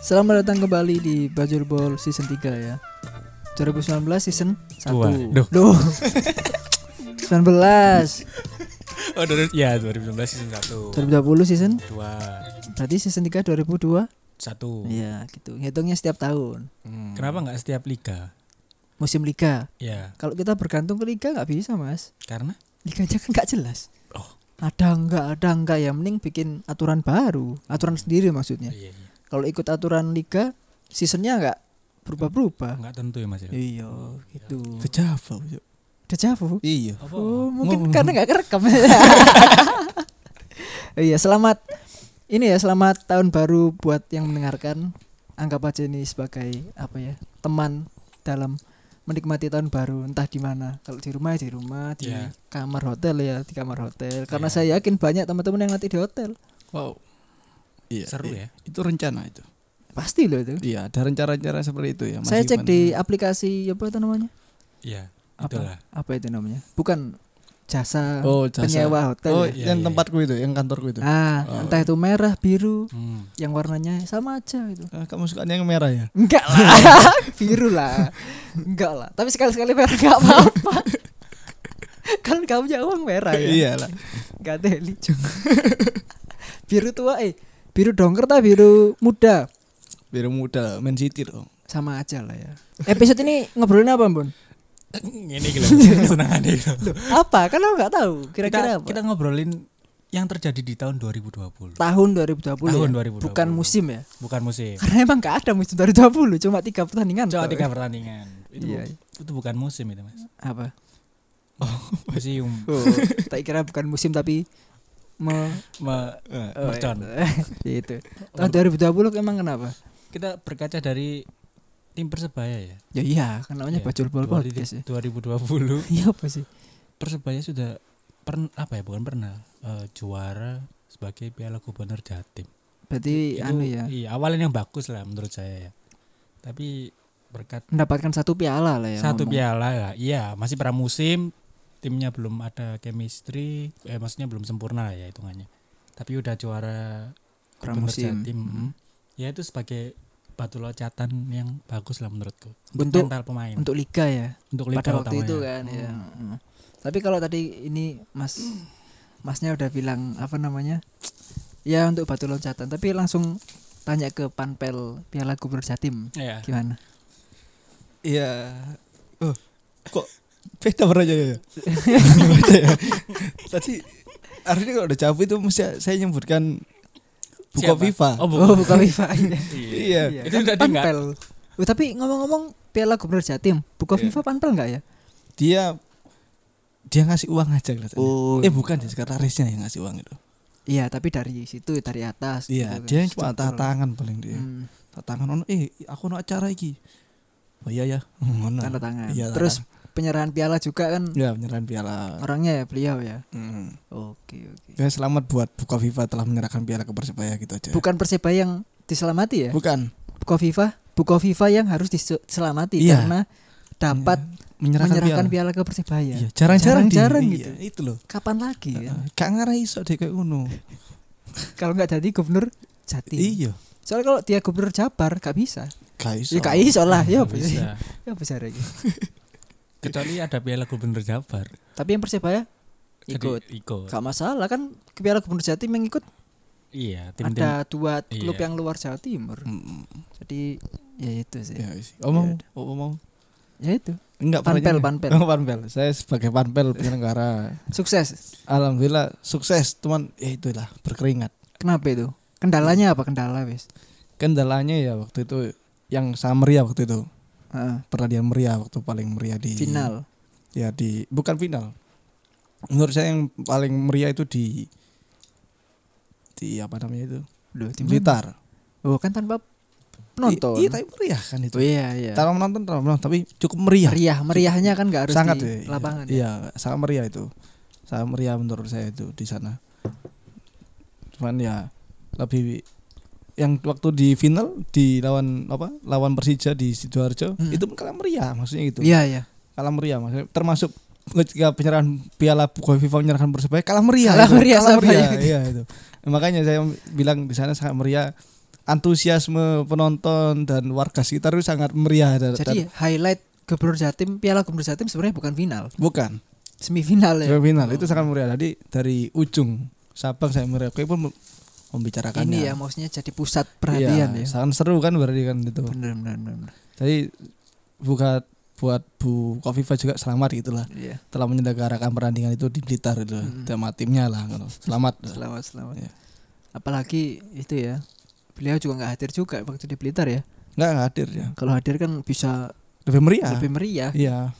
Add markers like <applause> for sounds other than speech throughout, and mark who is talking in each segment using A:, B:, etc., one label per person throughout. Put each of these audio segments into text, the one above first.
A: Selamat datang kembali di Bajul Ball season 3 ya. 2019 season 1.
B: Dua. Duh.
A: Duh. 19.
B: Oh, dua- ya 2019 season 1.
A: 2020 season
B: 2
A: berarti season 3 2002.
B: 1.
A: Iya, gitu. Ngitungnya setiap tahun.
B: Kenapa nggak setiap liga?
A: Musim liga.
B: Ya,
A: Kalau kita bergantung ke liga nggak bisa, Mas.
B: karena
A: Liga aja kan nggak jelas.
B: Oh.
A: Ada nggak, ada nggak ya mending bikin aturan baru, aturan sendiri maksudnya.
B: iya, iya.
A: Kalau ikut aturan liga, seasonnya nggak berubah-berubah.
B: nggak tentu ya Mas. ya?
A: Iya, gitu.
C: Dejavu yuk.
A: Deja vu.
C: Iya.
A: Oh,
B: Apa?
A: mungkin
C: Oh.
A: karena nggak kerekam. <laughs> iya, selamat ini ya selamat tahun baru buat yang mendengarkan. Anggap aja ini sebagai apa ya teman dalam menikmati tahun baru entah di mana. Kalau di rumah ya di rumah, di
B: Iya.
A: kamar hotel ya di kamar hotel. Karena
B: Iya.
A: saya yakin banyak teman-teman yang nanti di hotel.
C: Wow. Iya.
B: Seru
C: iya.
B: ya.
C: Itu rencana itu.
A: Pasti loh itu.
C: Iya, ada rencana-rencana seperti itu ya. Mas
A: saya cek
C: Ivan.
A: di aplikasi ya, apa itu namanya?
B: Iya,
A: Apa?
B: itulah.
A: Apa itu namanya? Bukan jasa,
C: Oh, jasa.
A: penyewa hotel.
C: Oh,
A: ya.
B: iya,
C: yang
B: iya.
C: tempatku itu, yang kantorku itu.
A: Ah,
C: Oh.
A: entah itu merah, biru,
B: Hmm. <laughs>
A: yang warnanya sama aja gitu.
C: Ah, kamu sukanya yang merah ya? <laughs>
A: Enggak lah, <laughs> biru lah. Enggak lah. Tapi sekali-sekali merah enggak apa-apa. <laughs> kan kamu punya uang merah ya.
C: Iya lah.
A: Enggak teli. <laughs> biru tua eh biru dongker tak biru muda
C: Biar muda, Man City dong.
A: sama aja lah ya. Episode ini ngobrolin apa, Bun?
B: Ini
A: <laughs>
B: gila, senang aneh gitu.
A: Apa? Kan aku enggak tahu
B: Kita,
A: kira-kira apa.
B: kita ngobrolin yang terjadi di tahun 2020.
A: tahun 2020.
B: Tahun
A: ya?
B: 2020.
A: Bukan musim ya.
B: Bukan musim.
A: Karena emang enggak ada musim 2020, cuma tiga pertandingan.
B: Coba
A: tau.
B: tiga pertandingan. Itu,
A: Iya.
B: itu bukan musim
A: <laughs>
B: itu, Mas.
A: Apa?
B: Museum
A: Oh, <laughs> tak kira bukan musim tapi me-
B: me-
A: Oh, <laughs>
B: mercon.
A: iya. itu. Tahun 2020 emang kenapa?
B: Kita berkaca dari tim Persebaya ya.
A: Ya iya, kan namanya
B: Iya,
A: Bacul Bol
B: 20-
A: Podcast ya. <laughs>
B: 2020
A: Iya apa sih?
B: Persebaya sudah pernah apa ya bukan pernah eh, juara sebagai Piala Gubernur Jatim.
A: Berarti
B: Itu,
A: anu ya,
B: Iya, awalnya yang bagus lah menurut saya ya. Tapi berkat
A: mendapatkan satu piala lah ya.
B: satu
A: ngomong.
B: piala ya. Iya, masih pramusim, timnya belum ada chemistry, eh maksudnya belum sempurna lah ya hitungannya. Tapi udah juara Gubernur
A: Pramusim. Mm-hmm.
B: Jatim. mm. Ya itu sebagai batu loncatan yang bagus lah menurutku.
A: Untuk-
B: mental pemain.
A: Untuk liga ya.
B: untuk
A: Pada
B: liga
A: waktu
B: utamanya.
A: itu kan ya. Hmm. Tapi kalau tadi ini Mas Masnya udah bilang apa namanya? Ya untuk batu loncatan, tapi langsung tanya ke Panpel Piala Gubernur Jatim.
B: Iya.
A: Gimana?
C: Iya. Oh, kok beda <laughs> pertanyaannya? Tadi harusnya kalau udah capu itu mesti saya nyebutkan Buko
B: Siapa?
C: Viva.
B: Oh, bukan.
A: Oh, bukan FIFA. Iya.
C: <laughs> iya.
A: Iya,
B: Itu
A: kan
B: tadi nggak-
A: Panpel. Oh, tapi ngomong-ngomong Piala Gubernur Jatim, buka
C: Iya.
A: FIFA Panpel nggak ya?
C: Dia dia ngasih uang aja kelihatannya.
A: Oh.
C: Eh bukan ya, sekretarisnya yang ngasih uang itu.
A: Iya, tapi dari situ dari atas.
C: Iya,
A: gitu kan,
C: dia cuma
A: struktur.
C: tatangan paling dia.
A: Hmm,
C: Tatangan ono eh aku ono acara iki. Oh iya <laughs> ya.
A: tanda tangan.
C: Iya, tanda
A: Terus penyerahan piala juga kan
C: Ya penyerahan piala.
A: orangnya ya beliau ya.
C: Hmm.
A: Oke, oke.
C: Ya selamat buat Buko Viva telah menyerahkan piala ke Persebaya gitu aja.
A: Bukan Persebaya yang diselamati ya.
C: Bukan.
A: Buka FIFA, buka FIFA yang harus diselamati
C: Iya.
A: karena dapat
C: menyerahkan,
A: menyerahkan
C: piala.
A: piala. ke Persebaya.
C: Iya, jarang-jarang di-
A: Jarang-jarang
C: iya,
A: gitu.
C: Itu loh.
A: Kapan lagi ya?
C: Heeh, Gak ngarah iso deh kayak ngono.
A: Kalau nggak jadi gubernur Jatim.
C: Iya.
A: Soalnya kalau dia gubernur Jabar nggak bisa.
C: Gak iso.
A: Ya nggak iso <laughs> lah, ya apa sih?
B: bisa.
A: Ya besar lagi.
B: Kecuali ada Piala Gubernur Jabar.
A: Tapi yang Persebaya ikut.
B: Jadi, ikut.
A: Gak masalah kan ke Piala Gubernur Jatim yang ikut
B: Iya, tim-tim.
A: ada dua klub
B: Iya.
A: yang luar Jawa Timur.
C: Mm,
A: Jadi ya itu sih.
C: Ya wis. Oh mau, oh mau.
A: Ya itu.
C: Enggak
A: Panpel,
C: pertanyaan.
A: panpel.
C: Oh, <laughs> panpel. Saya sebagai panpel penyelenggara.
A: Sukses.
C: Alhamdulillah sukses, cuman ya itulah berkeringat.
A: Kenapa itu? Kendalanya apa kendala wis?
C: Kendalanya ya waktu itu yang sama meriah waktu itu.
A: Heeh.
C: Pertandingan meriah waktu paling meriah di
A: final.
C: ya di bukan final menurut saya yang paling meriah itu di di apa namanya itu
A: Loh, di
C: di
A: mana?
C: Blitar
A: Oh, kan tanpa penonton.
C: I- iya tapi meriah kan itu
A: Oh, iya, iya.
C: tanpa menonton tanpa menonton tapi cukup meriah
A: Meriah, meriahnya kan nggak harus
C: sangat
A: di
C: ya, iya.
A: lapangan. ya.
C: iya sangat meriah itu sangat meriah menurut saya itu di sana cuman ya lebih yang waktu di final di lawan apa lawan Persija di sidoarjo
A: Hmm.
C: itu kalah meriah maksudnya gitu
A: Iya, iya.
C: kalah meriah maksudnya termasuk ketika penyerahan piala Bukoy FIFA menyerahkan Persebaya kalah meriah
A: Kalah
C: itu.
A: meriah
C: kalah
A: Surabaya.
C: meriah iya itu makanya saya bilang di sana sangat meriah antusiasme penonton dan warga sekitar itu sangat meriah dan,
A: Jadi ya?
C: dan-
A: highlight Gubernur Jatim, Piala Gubernur Jatim sebenarnya bukan final,
C: bukan
A: semifinal ya.
C: semifinal itu sangat meriah jadi dari ujung Sabang saya meriah Oke pun membicarakannya
A: Ini ya maksudnya jadi pusat
C: Iya,
A: perhatian ya.
C: sangat seru kan berarti kan itu
A: Bener, bener, bener. bener.
C: jadi buat buat Bu Kofifa juga selamat gitulah
A: Iya.
C: telah menyelenggarakan pertandingan itu di Blitar itu
A: Mm.
C: sama timnya lah gitu. selamat
A: Selamat, selamat.
C: Iya.
A: Apalagi itu ya. Beliau juga nggak hadir juga waktu di Blitar ya.
C: nggak nggak hadir ya
A: Kalau hadir kan bisa
C: lebih meriah
A: lebih meriah.
C: iya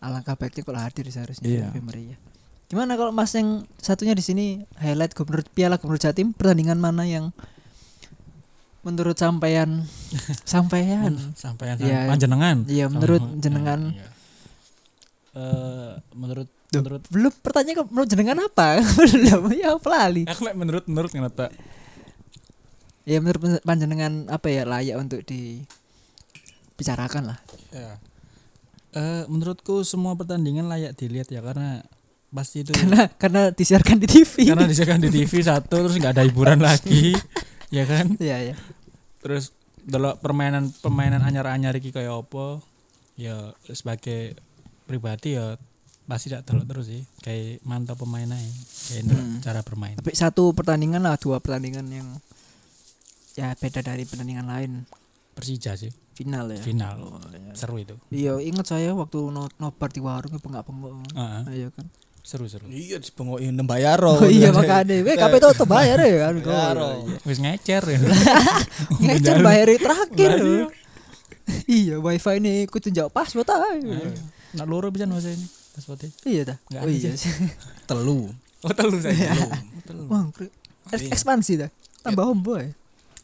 A: Alangkah baiknya kalau hadir seharusnya
C: Iya.
A: lebih meriah. ya. Gimana kalau Mas yang satunya di sini highlight Gubernur Piala Gubernur Jatim pertandingan mana yang menurut sampean sampean
B: Hmm. Sampaian
A: Iya.
B: panjenengan.
A: Iya, menurut
B: Sama-
A: jenengan.
B: Iya. Eh, menurut
A: Duh.
B: menurut
A: belum pertanyaan ke- menurut jenengan apa <laughs> belum ya apa lali
B: aku lek menurut menurut kenapa
A: ya menurut pen- panjenengan apa ya layak untuk dibicarakan lah
B: Ya. Eh, menurutku semua pertandingan layak dilihat ya karena pasti itu
A: karena karena disiarkan di TV <laughs>
B: karena disiarkan di TV satu terus nggak ada hiburan lagi, ya kan?
A: ya ya
B: Terus delok permainan permainan
A: Hmm.
B: anyar-anyar iki kayak apa? Ya sebagai pribadi ya pasti tidak delok terus sih. Kayak mantap pemainnya, kayak ndelok
A: Hmm.
B: cara bermain.
A: tapi satu pertandingan lah dua pertandingan yang ya beda dari pertandingan lain
B: Persija sih
A: final ya
B: final seru itu.
A: iya ingat saya waktu no- nobar di warung pengak pengok
B: Heeh,
A: ayo kan
B: seru seru.
C: iya di pengoin nembayaro
A: oh iya makanya weh kape itu tuh bayar ya kan
C: Bayaro.
B: Wis
A: <laughs>
B: ngecer ya.
A: ngecer Iya. bayar terakhir loh.
B: Lah, iya.
A: iya wifi ini kudu njak password aja
B: Ayo. Nak loro bisa nulis ini. Paspotnya.
A: iya dah
B: Nggak
A: oh
B: ada
A: iya <laughs> sih
C: telu
B: Oh telu
A: Iya.
B: saya.
A: Wah, kre- eks- ekspansi dah. Tambah homeboy.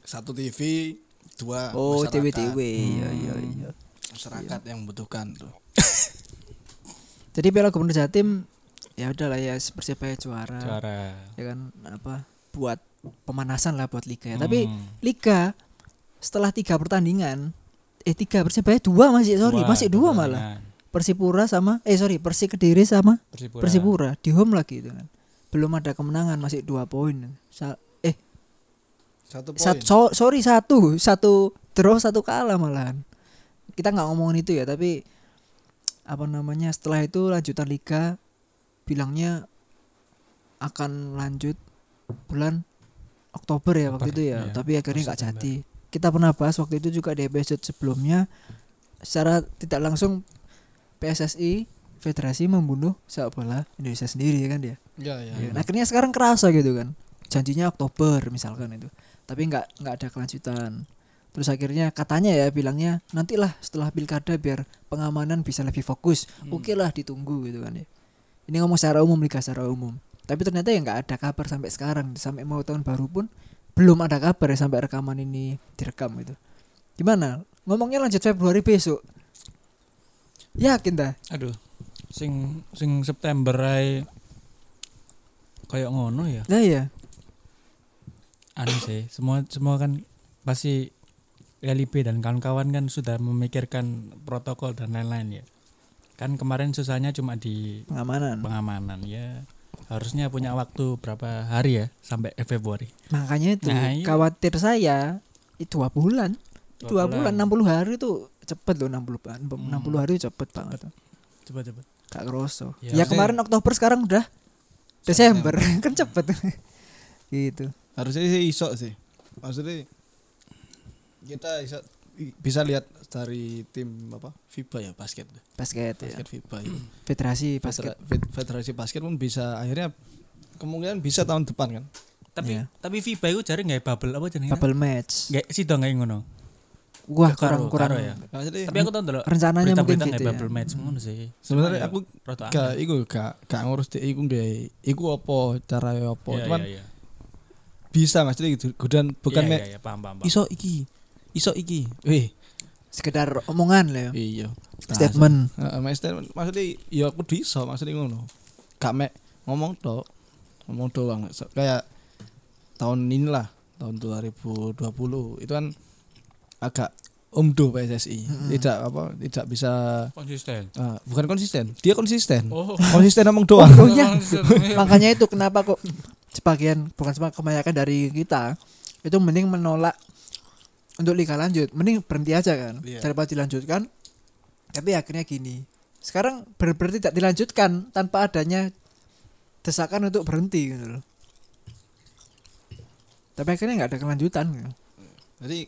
C: satu TV dua
A: Oh,
C: masyarakat,
A: TW-TW. Iya, iya, iya.
C: masyarakat yang membutuhkan tuh
A: Jadi Piala Gubernur Jatim ya udahlah ya Persebaya juara.
B: Suara.
A: Ya kan apa buat pemanasan lah buat liga ya. Tapi
B: Hmm.
A: liga setelah tiga pertandingan eh tiga Persebaya dua masih sorry masih dua malah Persipura sama eh sorry Persi Kediri sama
B: Persipura.
A: Persipura di home lagi itu kan belum ada kemenangan masih dua poin Sa- eh
C: satu
A: Sat- so- sorry satu satu draw satu kalah malahan kita nggak ngomongin itu ya tapi apa namanya setelah itu lanjutan liga bilangnya akan lanjut bulan Oktober ya waktu
B: Oktober,
A: itu ya
B: iya.
A: tapi akhirnya nggak
B: September.
A: jadi kita pernah bahas waktu itu juga di episode sebelumnya secara tidak langsung PSSI Federasi membunuh sepak bola Indonesia sendiri ya kan dia
C: ya ya
A: Ya, nah, akhirnya sekarang kerasa gitu kan. Janjinya Oktober misalkan itu. Tapi nggak nggak ada kelanjutan. Terus akhirnya katanya ya bilangnya nantilah setelah pilkada biar pengamanan bisa lebih fokus. Oke lah ditunggu gitu kan ya. Ini ngomong secara umum liga secara umum. Tapi ternyata ya nggak ada kabar sampai sekarang sampai mau tahun baru pun belum ada kabar ya sampai rekaman ini direkam gitu. Gimana? Ngomongnya lanjut Februari besok. Yakin dah?
B: Aduh. Sing sing September ae kayak ngono ya.
A: Lah ya.
B: Anu sih, semua semua kan pasti LIB dan kawan-kawan kan sudah memikirkan protokol dan lain-lain ya. Kan kemarin susahnya cuma di
A: Pengamanan.
B: pengamanan ya. Harusnya punya waktu berapa hari ya sampai Februari.
A: Makanya itu
B: Nah, iya.
A: khawatir saya itu dua bulan, dua,
B: Dua
A: bulan.
B: bulan.
A: 60 hari itu cepet loh 60 bulan, 60 hari itu cepet banget.
B: Coba coba.
A: Gak kerasa.
B: Ya,
A: Ya,
C: maksudnya-
A: kemarin Oktober sekarang udah Desember, <laughs> kan cepet. gitu.
C: harusnya sih iso sih maksudnya kita iso- i- bisa lihat dari tim apa FIBA ya basket
B: Iya.
A: Basket, ya.
C: basket FIBA
B: <clears throat>
C: ya.
A: Federasi basket.
C: Federa- Fed- federasi basket pun bisa akhirnya kemungkinan bisa tahun depan kan
B: Tapi
A: Iya.
B: tapi FIBA itu jare nggak bubble apa jenenge?
A: Bubble match.
B: Nggak sih dong nggak ngono.
A: wah
B: Ya. Karo-
A: kurang kurang.
B: karo ya.
C: Nah, jadi
B: Tapi aku tahu dulu
A: Rencananya mungkin
B: berita-berita
A: gitu
B: nggak
A: ya.
B: bubble match ngono sih.
C: sebenarnya
B: Cuma
C: aku
B: ya, rotok
C: gak
B: aneh.
C: iku gak gak ngurus dek iku gak iku apa cara ya apa
B: Iya,
C: cuman
B: iya, iya.
C: bisa Mas jadi gitu godaan bukan
B: Iya,
C: mek
B: iya, iya, paham paham. paham.
C: iso iki iso iki weh
A: Sekedar omongan lah ya.
C: iya
A: Statement.
C: Heeh, mek statement maksudnya ya aku bisa maksudnya ngono gak mek ngomong tok ngomong doang So, kayak tahun inilah tahun 2020 itu kan agak umdo PSSI tidak apa tidak bisa
B: konsisten.
C: eh, bukan konsisten dia konsisten
B: Oh,
C: konsisten ngomong doang
A: Ohnya.
C: <laughs> iya.
A: Makanya itu kenapa kok sebagian bukan sebagian kebanyakan dari kita itu mending menolak untuk liga lanjut, mending berhenti aja kan
C: Iya.
A: daripada dilanjutkan. Tapi akhirnya gini, sekarang benar-benar tidak dilanjutkan tanpa adanya desakan untuk berhenti gitu loh. Tapi akhirnya nggak ada kelanjutan. Gitu.
C: Jadi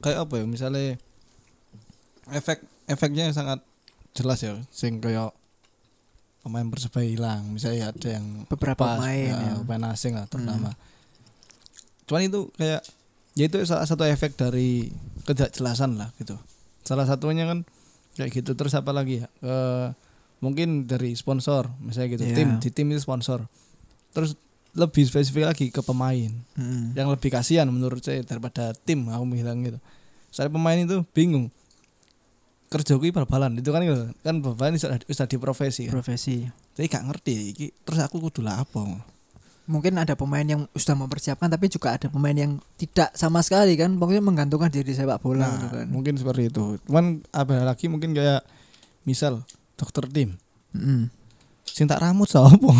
C: kayak apa ya misalnya efek efeknya yang sangat jelas ya sing kayak pemain persebaya hilang misalnya ada yang
A: Beberapa pemain
C: eh,
A: ya.
C: pemain asing lah terutama. Cuman itu kayak ya itu salah satu efek dari ketidakjelasan lah gitu. Salah satunya kan kayak gitu terus apa lagi ya? Eh, mungkin dari sponsor misalnya gitu
A: Iya.
C: tim di tim itu sponsor. Terus lebih spesifik lagi ke pemain
A: Mm.
C: yang lebih kasihan menurut saya daripada tim aku bilang gitu saya pemain itu bingung kerja gue bal-balan itu kan gitu. kan bal-balan sudah sudah di profesi kan.
A: Profesi.
C: jadi gak ngerti iki terus aku kudu lah apa
A: Mungkin ada pemain yang sudah mempersiapkan tapi juga ada pemain yang tidak sama sekali kan pokoknya menggantungkan diri di sepak bola
C: nah
A: gitu kan.
C: mungkin seperti itu cuman ada lagi mungkin kayak misal dokter tim
A: Mm.
C: sing tak rambut
A: <laughs>
C: sopo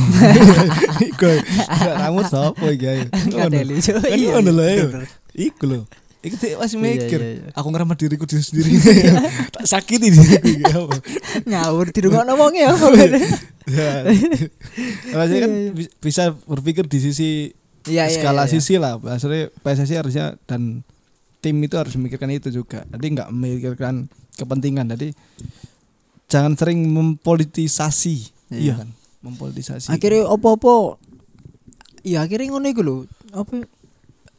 C: iku tak rambut sopo iki ayo.
A: Enggak
C: Ngono.
A: Deli cuy.
C: Kan
A: Iya,
C: ngono lah,
A: iya,
C: ayo.
A: bener.
C: iku loh iku sih masih
A: Iya,
C: mikir
A: iya, iya.
C: aku ngeramah diriku sendiri sendiri <laughs> tak sakiti diriku iki apa
A: Ngawur di rumah ngomongnya apa kan? <laughs>
C: Ya. Kalau saya kan bi- bisa berpikir di sisi
A: Iya iya. iya,
C: skala
A: iya.
C: sisi lah. Maksudnya PSSI harusnya dan tim itu harus memikirkan itu juga. Jadi nggak memikirkan kepentingan. Jadi jangan sering mempolitisasi.
A: Iya.
C: kan? Mempolitisasi.
A: Akhirnya opo-opo. Ya akhirnya ngono iku lho. Apa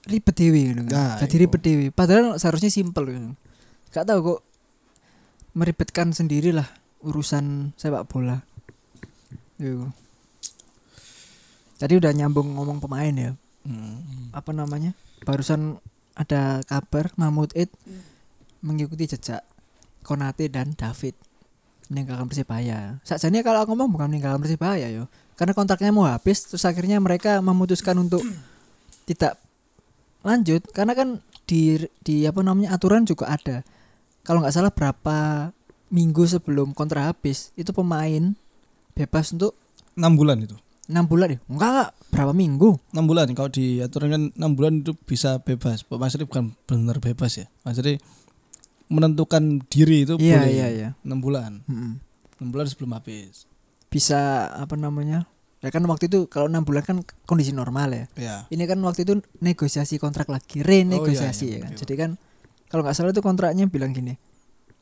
A: ribet dewe ngono.
C: Nah,
A: kan. Jadi
C: iku.
A: ribet dewe. Padahal seharusnya simpel gitu. Gak tahu kok meribetkan sendirilah urusan sepak bola. Iku. Tadi udah nyambung ngomong pemain ya.
C: Hmm.
A: apa namanya barusan ada kabar Mahmud Id mengikuti jejak Konate dan David meninggalkan Persibaya. Sajane kalau aku ngomong bukan meninggalkan Persibaya yo, karena kontraknya mau habis terus akhirnya mereka memutuskan untuk tidak lanjut karena kan di di apa namanya aturan juga ada. Kalau nggak salah berapa minggu sebelum kontrak habis itu pemain bebas untuk
C: Enam bulan itu.
A: enam bulan ya? Enggak, enggak. berapa minggu?
C: Enam bulan kalau diaturan kan enam bulan itu bisa bebas. Maksudnya bukan benar bebas ya. Maksudnya menentukan diri itu
A: Iya
C: boleh
A: iya iya.
C: enam bulan.
A: Mm-mm.
C: Enam bulan sebelum habis.
A: bisa apa namanya ya kan waktu itu kalau enam bulan kan kondisi normal ya
C: Ya.
A: ini kan waktu itu negosiasi kontrak lagi renegosiasi
C: Oh, iya, iya,
A: ya kan
C: iya.
A: jadi kan kalau nggak salah itu kontraknya bilang gini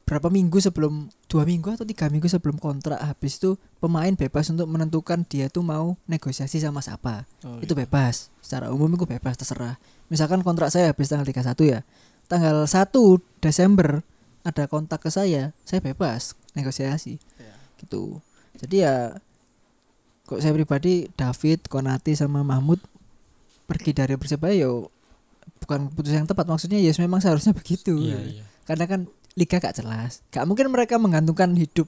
A: berapa minggu sebelum dua minggu atau tiga minggu sebelum kontrak habis itu pemain bebas untuk menentukan dia tuh mau negosiasi sama siapa
C: Oh,
A: itu bebas secara umum itu bebas terserah misalkan kontrak saya habis tanggal 31 ya tanggal 1 Desember ada kontak ke saya saya bebas negosiasi
C: Iya.
A: gitu jadi ya kok saya pribadi David Konati sama Mahmud pergi dari Persebaya yo bukan keputusan yang tepat maksudnya ya memang seharusnya begitu
B: Iya, iya.
A: karena kan liga gak jelas gak mungkin mereka menggantungkan hidup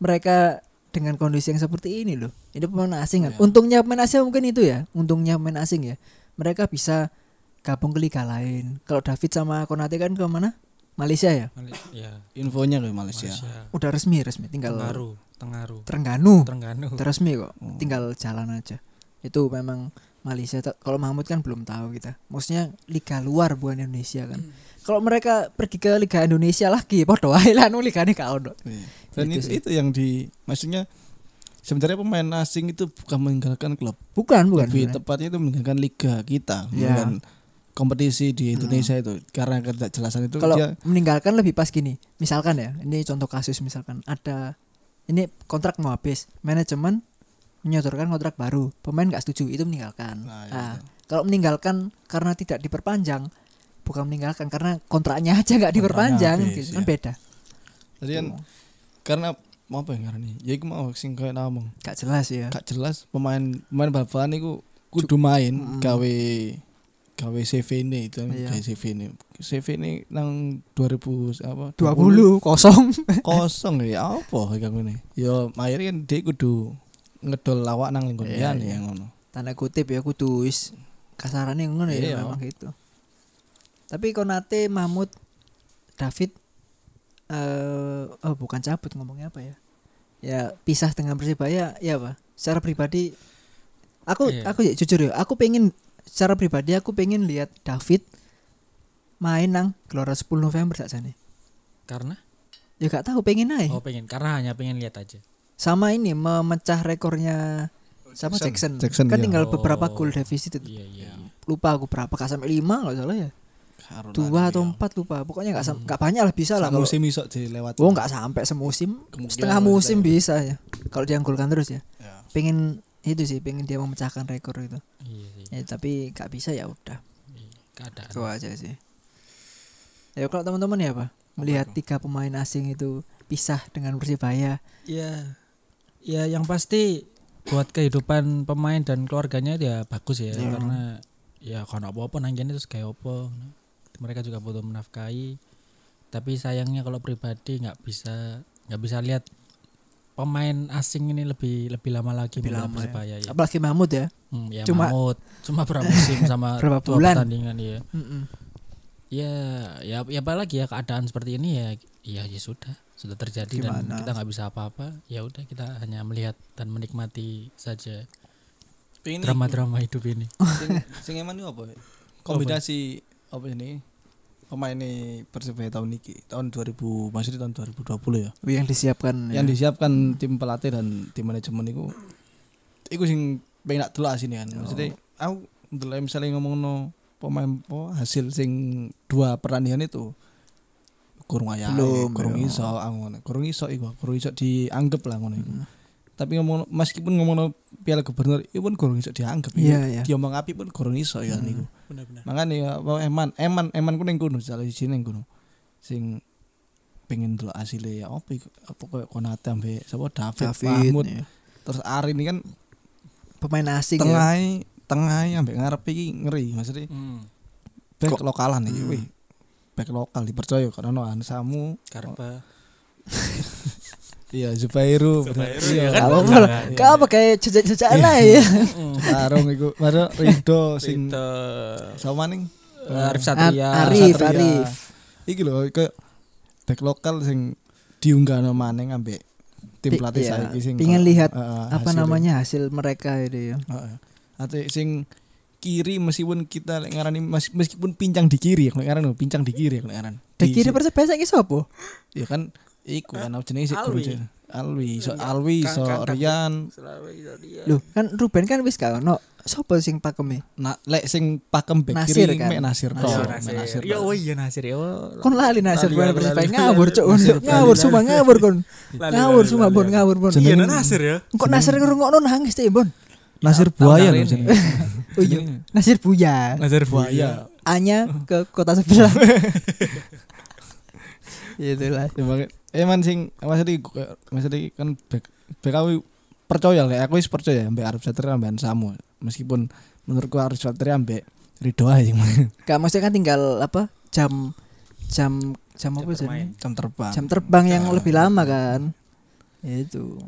A: mereka dengan kondisi yang seperti ini loh ini pemain asing kan
C: Iya.
A: untungnya pemain asing mungkin itu ya untungnya pemain asing ya mereka bisa gabung ke liga lain kalau David sama Konate kan ke mana Malaysia ya
B: Mali- Iya.
C: Infonya ke Malaysia.
B: Malaysia.
A: udah resmi resmi tinggal
B: Tengaru, Tengaru,
A: Terengganu
B: Terengganu.
A: udah resmi kok
C: Oh.
A: tinggal jalan aja itu memang Malaysia Ta- kalau Mahmud kan belum tahu kita maksudnya liga luar bukan Indonesia kan kalau mereka pergi ke liga Indonesia lagi podo ae lah nu ligane gak ono
C: Iya.
A: Gitu
C: Dan itu,
A: sih.
C: itu yang di maksudnya sebenarnya pemain asing itu bukan meninggalkan klub,
A: bukan bukan
C: lebih
A: sebenarnya.
C: tepatnya itu meninggalkan liga kita,
A: Iya. Hmm.
C: meninggalkan kompetisi di Indonesia itu karena ketidakjelasan itu
A: kalau
C: dia
A: meninggalkan lebih pas gini misalkan ya ini contoh kasus misalkan ada ini kontrak mau habis manajemen menyotorkan kontrak baru pemain nggak setuju itu meninggalkan
C: Nah, iya,
A: Nah,
C: betul.
A: kalau meninggalkan karena tidak diperpanjang bukan meninggalkan karena kontraknya aja nggak diperpanjang
C: habis,
A: gitu kan
C: iya.
A: beda
C: Jadi
A: Iya.
C: kan karena mau apa yang ngarani? Ya iku mau sing kayak namung.
A: gak jelas ya
C: Gak jelas pemain pemain bal-balan iku kudu main
A: Mm.
C: gawe gawe CV ini itu kan
A: Iya.
C: gawe CV ini CV ini nang 2000 apa
A: 20 kosong
C: kosong ya apa kayak ngene ya akhirnya kan dia kudu ngedol lawak nang lingkungan
A: Iya,
C: liyan
A: iya.
C: ya ngono
A: <laughs> tanda kutip ya kudu wis kasarannya ngono ya
C: Iya.
A: memang gitu tapi Konate Mahmud David eh oh bukan cabut ngomongnya apa ya ya pisah dengan Persibaya ya apa secara pribadi aku
B: Iya.
A: aku ya jujur ya aku pengen secara pribadi aku pengen lihat David main nang Gelora 10 November saja nih
B: Karena
A: ya gak tahu pengen aja
B: oh pengen karena hanya pengen lihat aja.
A: sama ini memecah rekornya sama Jackson,
C: Jackson. Jackson,
A: kan
C: iya.
A: tinggal beberapa
B: Oh.
A: gol defisit itu
B: Iya iya.
A: lupa aku berapa gak sampai lima nggak salah ya dua atau empat lupa pokoknya nggak sam- nggak banyak lah bisa lah kalau
C: musim iso dilewati
A: oh nggak sampai semusim
C: Kemungkinan
A: setengah
C: lah,
A: musim
C: bisa
A: bisa ya kalau dianggulkan terus ya
C: Ya.
A: pengen itu sih pengen dia memecahkan rekor itu
B: Iya sih.
A: ya, tapi nggak bisa ya udah
B: Keadaan.
A: itu aja sih ya kalau teman-teman ya pak melihat tiga pemain asing itu pisah dengan Persibaya
B: Ya, ya yang pasti buat kehidupan pemain dan keluarganya ya bagus ya
A: Iya.
B: karena ya kalau apa-apa nanggini terus kayak apa mereka juga butuh menafkahi tapi sayangnya kalau pribadi nggak bisa nggak bisa lihat pemain asing ini lebih lebih lama lagi
A: Lebih
B: membela
A: lama ya.
B: Persibaya ya.
A: apalagi Mahmud ya
B: Hmm, ya
A: Cuma-
B: Mahmud. cuma
A: <laughs>
B: berapa musim sama
A: Berapa
B: dua
A: bulan.
B: pertandingan ya.
A: Mm-mm.
B: Ya, ya, ya apalagi ya keadaan seperti ini ya, ya, ya sudah, sudah terjadi dan
A: Gimana?
B: kita nggak bisa apa-apa. Ya udah kita hanya melihat dan menikmati saja
C: Pengen iku.
B: drama-drama hidup ini.
C: sing sing eman iku apa ya? kombinasi apa ini pemain ini persebaya tahun ini tahun 2000 maksudnya tahun 2020 ya
A: yang disiapkan
C: yang
A: ya.
C: disiapkan tim pelatih dan tim manajemen itu itu sing pengen tak delok sini kan maksudnya
A: Oh.
C: aku delok misalnya ngomong no pemain po, hasil sing dua pertandingan itu kurung ayah
A: Belum,
C: kurung
A: ya.
C: iso aku ngono. kurung iso iku kurung iso dianggap lah ngono iku
A: Mm.
C: tapi ngomong meskipun ngomong no piala gubernur itu pun kurung iso dianggap
A: iya
C: ya
A: iya
C: diomong api pun kurung iso ya
A: Hmm.
C: niku
B: Benar-benar.
C: makanya ya apa, eman eman eman ku ning kono salah siji ning kono sing pengen dulu asile ya opo iku? apa koyo Konate ambe sapa David,
A: David
C: Mahmud
A: ya.
C: terus Ari ini kan
A: pemain asing ya.
C: tengah tengah ambek ngarep iki ngeri maksudnya
B: Hmm.
C: back
A: Kok-
C: lokalan iki
A: Hmm.
C: wih back lokal dipercaya karena no Ansamu
B: Karpa.
C: iya Zubairu
B: Zubairu,
C: bener.
B: ya
C: Iya,
A: Gak
B: kan?
A: apa-apa lah.
C: Iya.
A: Gak apa kayak jejak-jejakan lah ya.
C: Tarung iku baru Rido sing
B: Sing
C: sama ning
B: Arif
A: Oh, Eh, Ar-
B: Ah, Satria.
A: Arif,
C: Satria.
A: Arif.
C: iki lho kayak back lokal sing diunggahno maneh ambek tim
A: Pi-
C: pelatih
A: iya,
C: saiki sing
A: pingin lihat
C: Heeh,
A: Apa
C: hasilnya.
A: namanya hasil mereka itu ya.
C: Heeh. Ate sing kiri meskipun kita lek ngarani mes- meskipun pincang di kiri ya lek ngaran lho, pincang di kiri ya lek ngaran.
A: Dek kiri
C: si-
A: persebaya saiki sapa?
C: ya kan iku kan jenenge sik
B: Ah, Alwi.
C: guru Alwi so Alwi so
B: Kang- Kang-
C: Rian
B: Iya.
A: Loh, kan Ruben kan wis gak ono. Sapa sing e? pakeme?
C: nah lek sing pakem back
A: Nasir
C: kiri
A: kan?
C: mek Nasir tok
A: Nasir.
C: mek Nasir
B: Ya
C: tok.
B: oh iya Nasir ya.
A: Kon lali nasib
B: Lali,
A: Ruben
B: lali,
A: persebaya
B: lali.
A: ngawur cuk.
B: Nasir, lali,
A: Ngawur
B: lali.
A: sumpah ngawur kon.
B: Lali,
A: Ngawur
B: lali,
A: sumpah
B: lali,
A: bon
B: lali.
A: ngawur bon.
C: Jeneng-
B: Nasir ya.
A: Kok Nasir ngrungokno nangis teh bon.
C: Nasir
B: Tahu
C: Buaya
B: dari ini.
C: lho jenenge
A: Oh iya.
C: Jenenge.
A: Nasir Buya.
B: Nasir
A: Iya.
C: Buaya
A: Anya ke kota
B: <laughs>
A: sebelah. Itulah.
C: Ya, makanya- Eman sing maksudnya iku kayak- maksudnya iki kan back back aku percaya lek aku wis percaya ya, ambek Arif Satria ambek Ansamu meskipun menurutku Arif Satria ambek Ridho ae sing
A: Gak maksudnya kan tinggal apa? Jam jam jam apa jenenge?
C: jam terbang.
A: jam terbang yang
C: Ya.
A: lebih lama kan Ya itu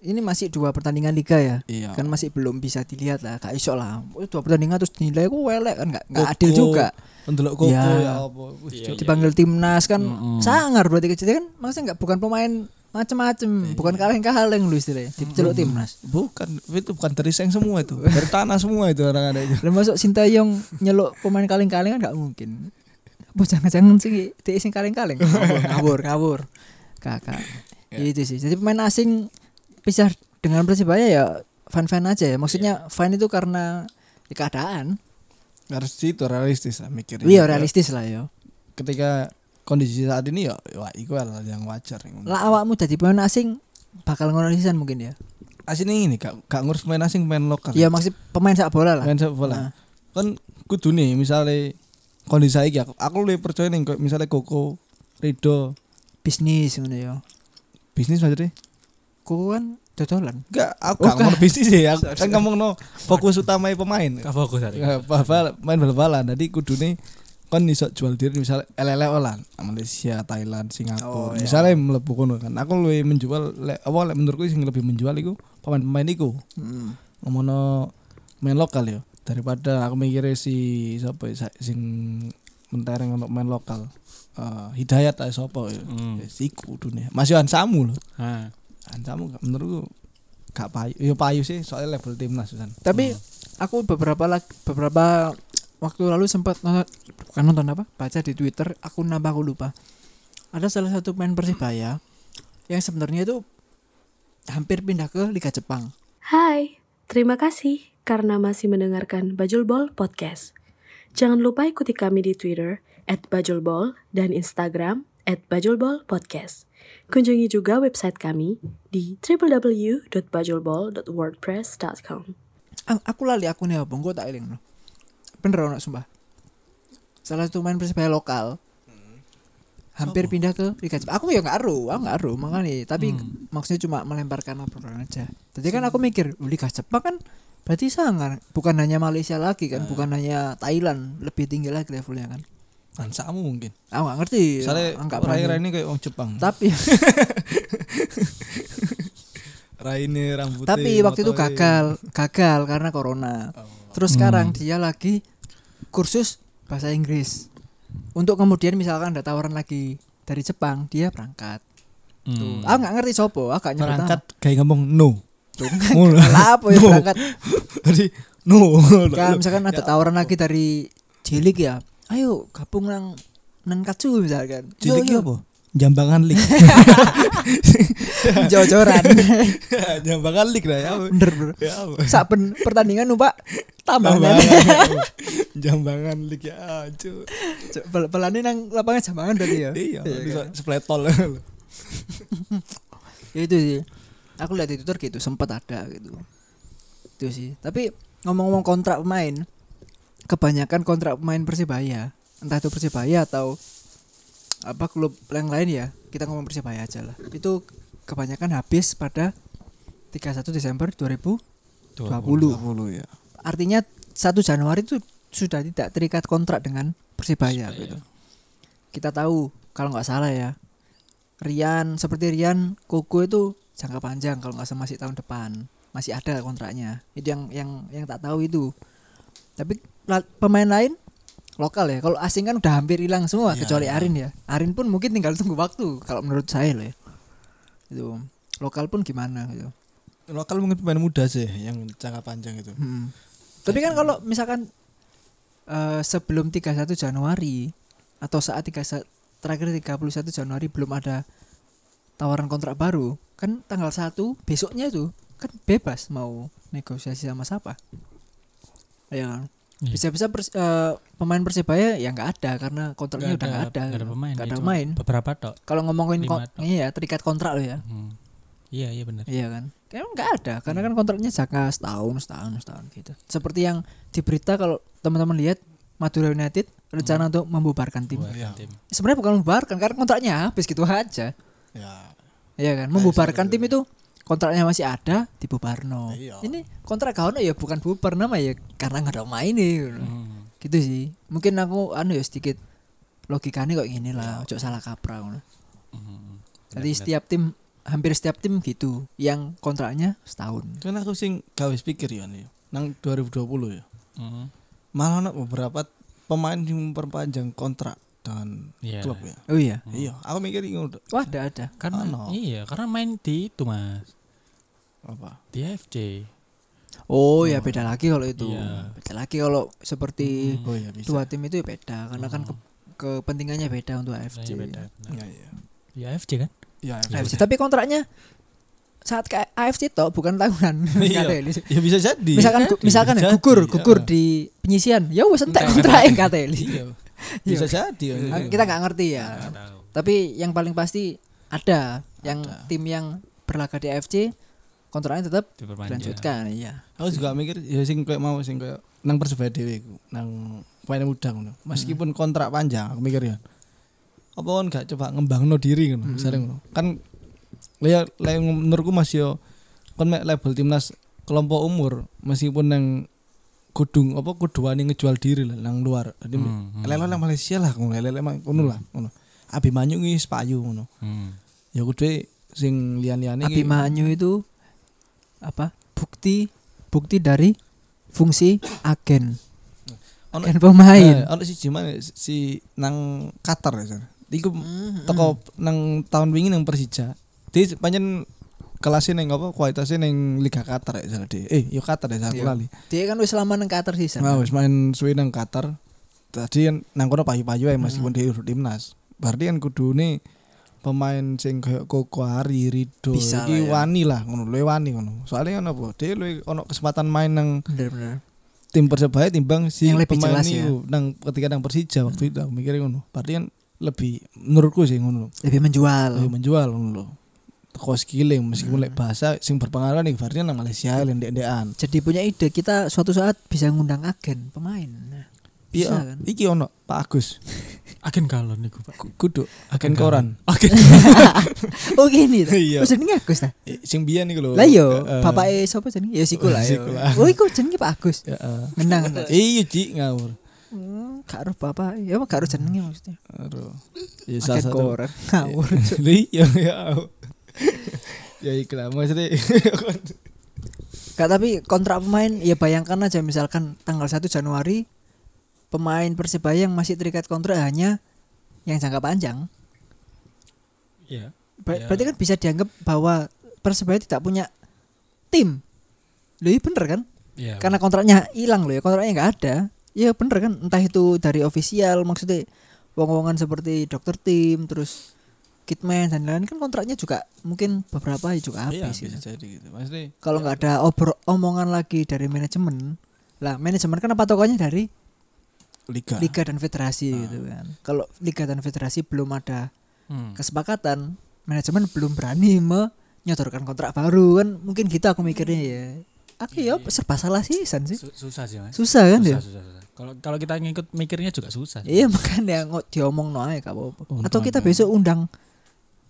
A: ini masih dua pertandingan liga ya
B: Oh.
C: Iya.
A: kan masih belum bisa dilihat lah gak iso lah Oh, dua pertandingan terus dinilai ku welek kan gak, gak
C: Koko.
A: adil juga
C: Ndelok koko
A: Ya.
C: ya apa. Wih,
B: Iya,
C: cuk.
B: iya.
A: dipanggil timnas kan
B: Mm-mm.
A: sangar berarti kecil kan maksudnya nggak bukan pemain macem-macem
B: Iya.
A: bukan kaleng-kaleng lu istilahnya diceluk timnas
C: Bukan itu bukan teriseng semua itu. Dari tanah semua itu orang ada itu.
A: dan masuk sintayong nyeluk pemain kaleng-kaleng kan gak mungkin apa jangan-jangan sih dia sing kaleng-kaleng ngawur ngawur, ngawur. kakak itu sih jadi pemain asing pisah dengan persibaya ya fan fan aja ya maksudnya fan itu karena ya, keadaan
C: Harus itu realistis lah mikirnya.
A: iya realistis lah yo
C: Ketika kondisi saat ini ya wah itu hal yang wajar.
A: lah awakmu jadi pemain asing bakal ngono sisan mungkin ya
C: Asli ini gak, gak ngurus pemain
A: Iya,
C: asing pemain lokal. Nah,
A: ya maksud pemain sepak bola lah
C: Main sepak bola.
A: Nah,
C: kan kudu nih misalnya kondisi saya aku, aku lebih percaya nih kayak misalnya Koko Rido
A: bisnis ngono ya
C: bisnis maksudnya
A: ku kan dodolan
C: enggak aku
A: Oh,
C: gak ngomong bisnis ya aku
A: Sorry,
C: kan
A: sorry.
C: ngomong no fokus utama pemain
B: Gak fokus hari.
A: Iya.
C: Ya, bal-bal- main bal-balan jadi kudune kan iso jual diri misalnya LLE olan Malaysia Thailand
A: Oh,
C: Singapura
A: iya.
C: misalnya mlebu kono kan aku lebih menjual le, apa lek menurutku sing lebih menjual iku pemain-pemain iku
A: hmm.
C: ngomono main lokal ya daripada aku mikirnya si siapa ya, sa- sing mentereng untuk main lokal Eh, hidayat lah siapa ya
B: Hmm.
C: Yes, iku dunia masih ansamu loh
B: Ah,
C: ansamu gak- menurutku gak payu ya payu sih soalnya level timnas kan
A: tapi aku beberapa lag- beberapa waktu lalu sempat nonton bukan nonton apa baca di twitter aku nambah aku lupa ada salah satu pemain persibaya yang sebenarnya itu hampir pindah ke liga Jepang
D: Hai, terima kasih karena masih mendengarkan Bajulbol Podcast. Jangan lupa ikuti kami di Twitter @bajulbol dan Instagram @bajulbolpodcast. Kunjungi juga website kami di www.bajulbol.wordpress.com.
A: Ang- aku lali aku nih abang gue tak eling no. bener ono sumpah salah satu pemain persibaya lokal
C: Hmm.
A: hampir pindah ke liga Jepang aku ya nggak aru aku nggak aru makanya tapi
C: Hmm.
A: maksudnya cuma melemparkan obrolan aja tadi kan aku mikir "Oh, liga Jepang kan berarti sangar bukan hanya Malaysia lagi
C: Eh.
A: kan bukan hanya Thailand lebih tinggi lagi levelnya kan
C: ansamu mungkin
A: aku nggak ngerti
C: Soalnya
A: aku nggak
C: Rai
A: berani.
C: ini kayak orang Jepang.
A: tapi
C: Rai ini rambutnya.
A: tapi waktu itu
C: motornya.
A: gagal gagal karena corona terus sekarang dia lagi kursus bahasa Inggris untuk kemudian misalkan ada tawaran lagi dari Jepang dia berangkat
B: hmm.
A: aku nggak ngerti sopo aku nggak nyebut
C: Berangkat kayak ngomong no.
A: nama.
C: Ngono.
A: lah apa ya
C: No.
A: berangkat
C: <laughs> Jadi no.
A: Kayak misalkan ada
C: Ya
A: tawaran lagi dari Cilik ya ayo gabung nang nang kacu misalkan Yo,
C: Ya, Cilik
A: yo.
C: apa? Jambangan lik.
A: <laughs> jor-joran
C: <laughs> Jambangan lik lah ya. apa?
A: bener bro
C: Ya apa?
A: sak ben- pertandingan numpak
C: Jambangan.
A: <laughs> tambahan
C: Jambangan lik ya acu.
A: pelani nang lapangan jambangan berarti ya
C: Iya, bisa
A: kan?
C: sepletol.
A: ya itu sih aku lihat di Twitter gitu sempat ada gitu itu sih tapi ngomong-ngomong kontrak pemain kebanyakan kontrak pemain persebaya entah itu persebaya atau apa klub yang lain ya kita ngomong persebaya aja lah itu kebanyakan habis pada 31 Desember 2020
C: 20 ya.
A: artinya 1 Januari itu sudah tidak terikat kontrak dengan Persibaya gitu. Kita tahu kalau nggak salah ya. Rian seperti Rian Koko itu jangka panjang kalau nggak salah masih tahun depan masih ada kontraknya itu yang yang yang tak tahu itu tapi la- pemain lain lokal ya kalau asing kan udah hampir hilang semua
B: Iya.
A: kecuali Arin ya Arin pun mungkin tinggal tunggu waktu kalau menurut saya loh ya itu lokal pun gimana gitu
C: Lokal mungkin pemain muda sih yang jangka panjang itu.
A: Hmm. Tapi kan kalau misalkan eh, sebelum 31 Januari atau saat 3 terakhir 31 Januari belum ada tawaran kontrak baru, kan tanggal 1 besoknya itu kan bebas mau negosiasi sama siapa. Ya kan?
B: Iya.
A: Bisa-bisa pers- eh, pemain Persebaya ya nggak ada karena kontraknya udah nggak ada.
B: Gak ada
A: gitu.
B: pemain.
A: Nggak
B: ya,
A: ada
B: cuma
A: pemain.
B: Beberapa tok.
A: Kalau ngomongin
B: Lima
A: kon-
B: tok.
A: iya terikat kontrak lo ya.
B: Hmm. Iya iya benar.
A: Iya kan? Kayaknya nggak ada karena kan kontraknya jangka setahun, setahun, setahun gitu. Seperti yang di berita kalau teman-teman lihat Madura United rencana untuk membubarkan tim.
B: Buat
C: Iya.
B: tim.
A: Sebenarnya bukan membubarkan karena kontraknya habis gitu aja.
C: Ya.
A: Iya kan?
B: gitu.
A: Membubarkan tim itu kontraknya masih ada di Bubarno.
C: Iya.
A: Ini kontrak kau ya bukan bubar nama ya karena nggak ada main nih. gitu.
B: Hmm.
A: Gitu sih. Mungkin aku anu ya sedikit logikanya kok gini lah, ojo salah kaprah. ngono.
B: Iya. Hmm.
A: Jadi setiap tim hampir setiap tim gitu yang kontraknya setahun.
C: Kan aku sing gawe pikir ya nih. Nang 2020 ya.
B: Hmm.
C: malah ada beberapa pemain yang memperpanjang kontrak dengan
B: Iya.
C: klub ya.
A: Oh iya.
C: Iya, aku mikir ngono
A: Wah, ada ada.
B: Karena
C: Ano.
B: iya karena main di itu mas
C: apa?
B: di FJ.
A: Oh, ya beda lagi kalau itu.
B: Hmm. Iya. Hmm.
A: Beda lagi kalau seperti
C: Oh iya bisa.
A: dua tim itu ya beda karena kan ke- kepentingannya beda untuk AFC.
B: Iya, beda. Nah,
C: Iya iya.
B: Di AFC kan?
C: Iya iya.
A: AFC. Tapi kontraknya saat ke AFC toh bukan tahunan. <laughs>
C: Iya.
A: Kateli.
C: Ya bisa jadi.
A: misalkan gu- misalkan ya,
C: Jadi,
A: gugur
C: iya.
A: gugur di penyisian ya wes entek
B: Entek.
A: kontraknya kateli. <laughs>
C: Iya. Bisa jadi. ya.
A: Nah, kita nggak ngerti ya tapi yang paling pasti ada yang
C: Ada.
A: tim yang berlaga di AFC kontraknya tetap
B: diperpanjang.
A: dilanjutkan iya
C: Aku juga mikir ya sing kayak mau sing kayak nang persebaya dhewe iku, nang pemain muda ngono. Meskipun kontrak panjang aku mikir ya. Apa kon gak coba ngembangno diri ngono,
B: Hmm.
C: misalnya ngono. Kan ya le- menurutku masih yo kon mek level timnas kelompok umur meskipun nang kudung apa kuduane ngejual diri lah nang luar. Jadi
B: Hmm, hmm.
C: lele lah Malaysia lah ngono, lele mah ngono lah ngono. Abimanyu iki payu ngono.
B: Hmm.
C: Ya kudu sing lian-liane iki-
A: Abimanyu itu apa bukti bukti dari fungsi agen
C: Ono-
A: agen pemain
C: Eh, ono siji mana si nang Qatar ya. Sar. Iku
A: Mhm.
C: teko
A: Hmm.
C: nang tahun wingi nang Persija. Di pancen kelasnya neng apa kualitasnya neng Liga Qatar ya salah Eh, yo Qatar ya salah aku
A: Iya.
C: lali.
A: dia kan wis lama nang Qatar sih
C: Nah,
A: sana.
C: wis main suwe nang Qatar. Tadi kan nang kono payu-payu ae
A: Hmm.
C: meskipun dia urut timnas. Berarti kan kudune pemain sing koyo Koko Ari Rido
A: Bisa
C: iki
A: lah ya.
C: wani lah ngono luwe wani ngono. Soalnya kan apa? Dia luwe ono kesempatan main nang
A: bener-bener
C: tim persebaya timbang si
A: Yang lebih jelas
C: pemain
A: ya. Hmm.
C: itu nang ketika nang Persija waktu itu aku mikirnya ngono. Berarti kan lebih menurutku sih ngono.
A: lebih
C: Lebih
A: menjual
C: menjual ngono loh. Teko skill meskipun
A: Hmm.
C: lek bahasa sing berpengalaman nih berarti nang Malaysia lan ndek-ndekan.
A: jadi punya ide kita suatu saat bisa ngundang agen
C: <laughs>
A: pemain Nah, bisa
C: Iya,
A: kan
C: iki ono Pak Agus.
B: Agen galon niku, Pak.
C: Ku- Kudu agen koran.
B: Agen.
A: oh gini ta? oh
C: Iya.
A: jenenge Agus ta
C: Eh, Sing biyen iku lho.
A: lah iya, yo
C: Eh, eh.
A: bapake sapa jenenge ya siku lah yo
C: Siku lah.
A: oh iku jenenge Pak Agus
C: Ya, <laughs> eh.
A: menang ta
C: Iya, Ci ngawur.
A: Hmm, gak roh bapak ya apa gak roh jenenge maksudnya
C: Aduh. Ya salah
A: agen
C: satu
A: koran
C: <laughs>
A: ngawur
C: Li, ya ya. Ya ikhlas maksudnya
A: Kak tapi kontrak pemain ya bayangkan aja misalkan tanggal 1 Januari pemain Persebaya yang masih terikat kontrak hanya yang jangka panjang.
B: Iya.
A: Ber-
B: Ya.
A: Berarti kan bisa dianggap bahwa Persebaya tidak punya tim. Loh iya bener kan?
B: Iya.
A: Karena kontraknya hilang loh ya, kontraknya nggak ada. Ya bener kan? Entah itu dari ofisial maksudnya wong-wongan seperti dokter tim terus kitman dan lain-lain kan kontraknya juga mungkin beberapa ya juga
C: Iya,
A: habis. gitu.
C: bisa jadi gitu. Maksudnya
A: kalau nggak ada obro omongan lagi dari manajemen lah manajemen kan apa tokonya dari
C: liga.
A: liga dan federasi gitu kan kalau liga dan federasi belum ada
B: Hmm.
A: kesepakatan manajemen belum berani menyotorkan kontrak baru kan mungkin gitu aku mikirnya ya aku ya serba salah sih San sih
B: Su- susah sih, Mas.
A: susah kan
B: susah,
A: ya
B: susah, susah. Kalau kalau kita ngikut mikirnya juga susah. sih.
A: iya makanya nggak diomong no aja nggak apa-apa
C: Untung
A: atau kita
C: ada.
A: besok undang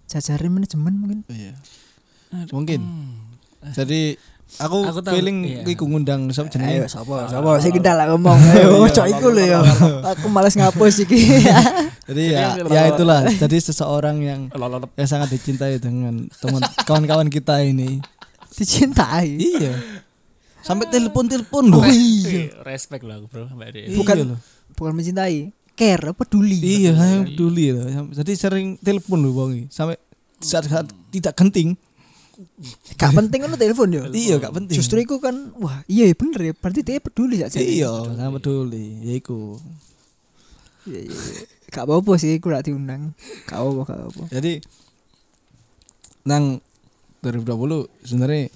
A: jajaran manajemen mungkin
C: Iya. Mungkin.
B: Hmm.
C: Jadi aku,
B: Aku tahu, iya.
C: feeling iku ngundang sapa jenenge?
A: sapa sapa saya kendala ngomong ayo cok iku lho ya aku malas ngapus iki <laughs>
C: Jadi ya, ya itulah. Jadi seseorang yang
B: Lololop.
C: yang sangat dicintai dengan teman kawan-kawan kita ini.
A: dicintai
C: Iya. Sampai telepon-telepon loh.
B: Eh, Respect lah aku, Bro, Mbak Dea.
C: Iya
A: Bukan-
C: loh.
A: bukan mencintai care peduli
C: Iya, saya peduli loh. Sam- Jadi sering telepon loh Bang. Sampai saat, saat tidak genting.
A: gak penting kan lu telepon yo
C: Iya, gak penting.
A: justru itu kan wah iya ya bener ya berarti dia peduli gak sih
C: iya, sama peduli. Ya iku.
A: Iya, iya, iya. gak apa-apa sih aku gak diundang gak apa-apa gak apa-apa
C: Jadi nang 2020 sebenarnya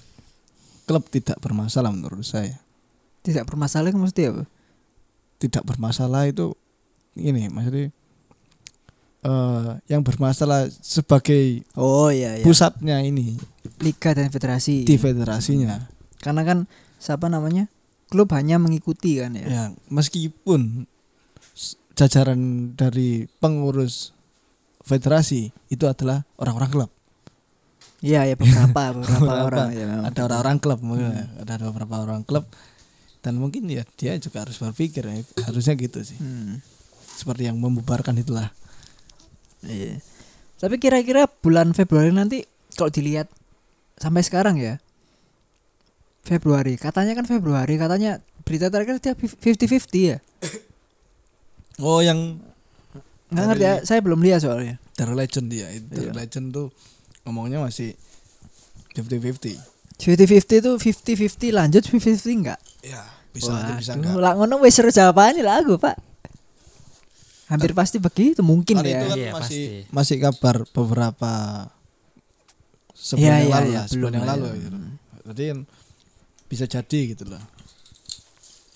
C: klub tidak bermasalah menurut saya.
A: tidak bermasalah kan mesti apa
C: tidak bermasalah itu ini maksudnya eh yang bermasalah sebagai
A: oh iya iya
C: pusatnya ini
A: liga dan federasi
C: di federasinya
A: karena kan siapa namanya klub hanya mengikuti kan ya
C: ya meskipun s- jajaran dari pengurus federasi itu adalah orang-orang klub
A: <laughs> iya ya
C: <laughs>
A: beberapa beberapa
C: Beberapa.
A: orang ya memang. Iya.
C: ada orang-orang klub mungkin ada beberapa orang klub dan mungkin ya dia juga harus berpikir ya. harusnya gitu sih
A: Hmm,
C: seperti yang membubarkan itulah
A: iya. tapi kira-kira bulan Februari nanti kalau dilihat sampai sekarang ya Februari katanya kan Februari katanya berita terakhir tiap 50-50 ya
C: oh yang
A: nggak ngerti ya saya belum lihat soalnya
C: Dark Legend dia
A: Iya.
C: Dark Legend tuh ngomongnya masih 50-50
A: 50-50 itu 50-50 lanjut 50-50 enggak
C: ya bisa aja, bisa enggak
A: lah ngono wis seru jawabannya lah aku pak hampir pasti begitu mungkin ya
C: Karena itu kan
B: Iya,
C: masih
B: pasti.
C: masih kabar beberapa sebulan
A: Iya,
C: yang
A: iya,
C: lalu
A: iya,
C: lah, sebulan
A: belum
C: yang
A: lah,
C: lalu
A: iya.
C: gitu. Jadi kan bisa jadi gitu loh.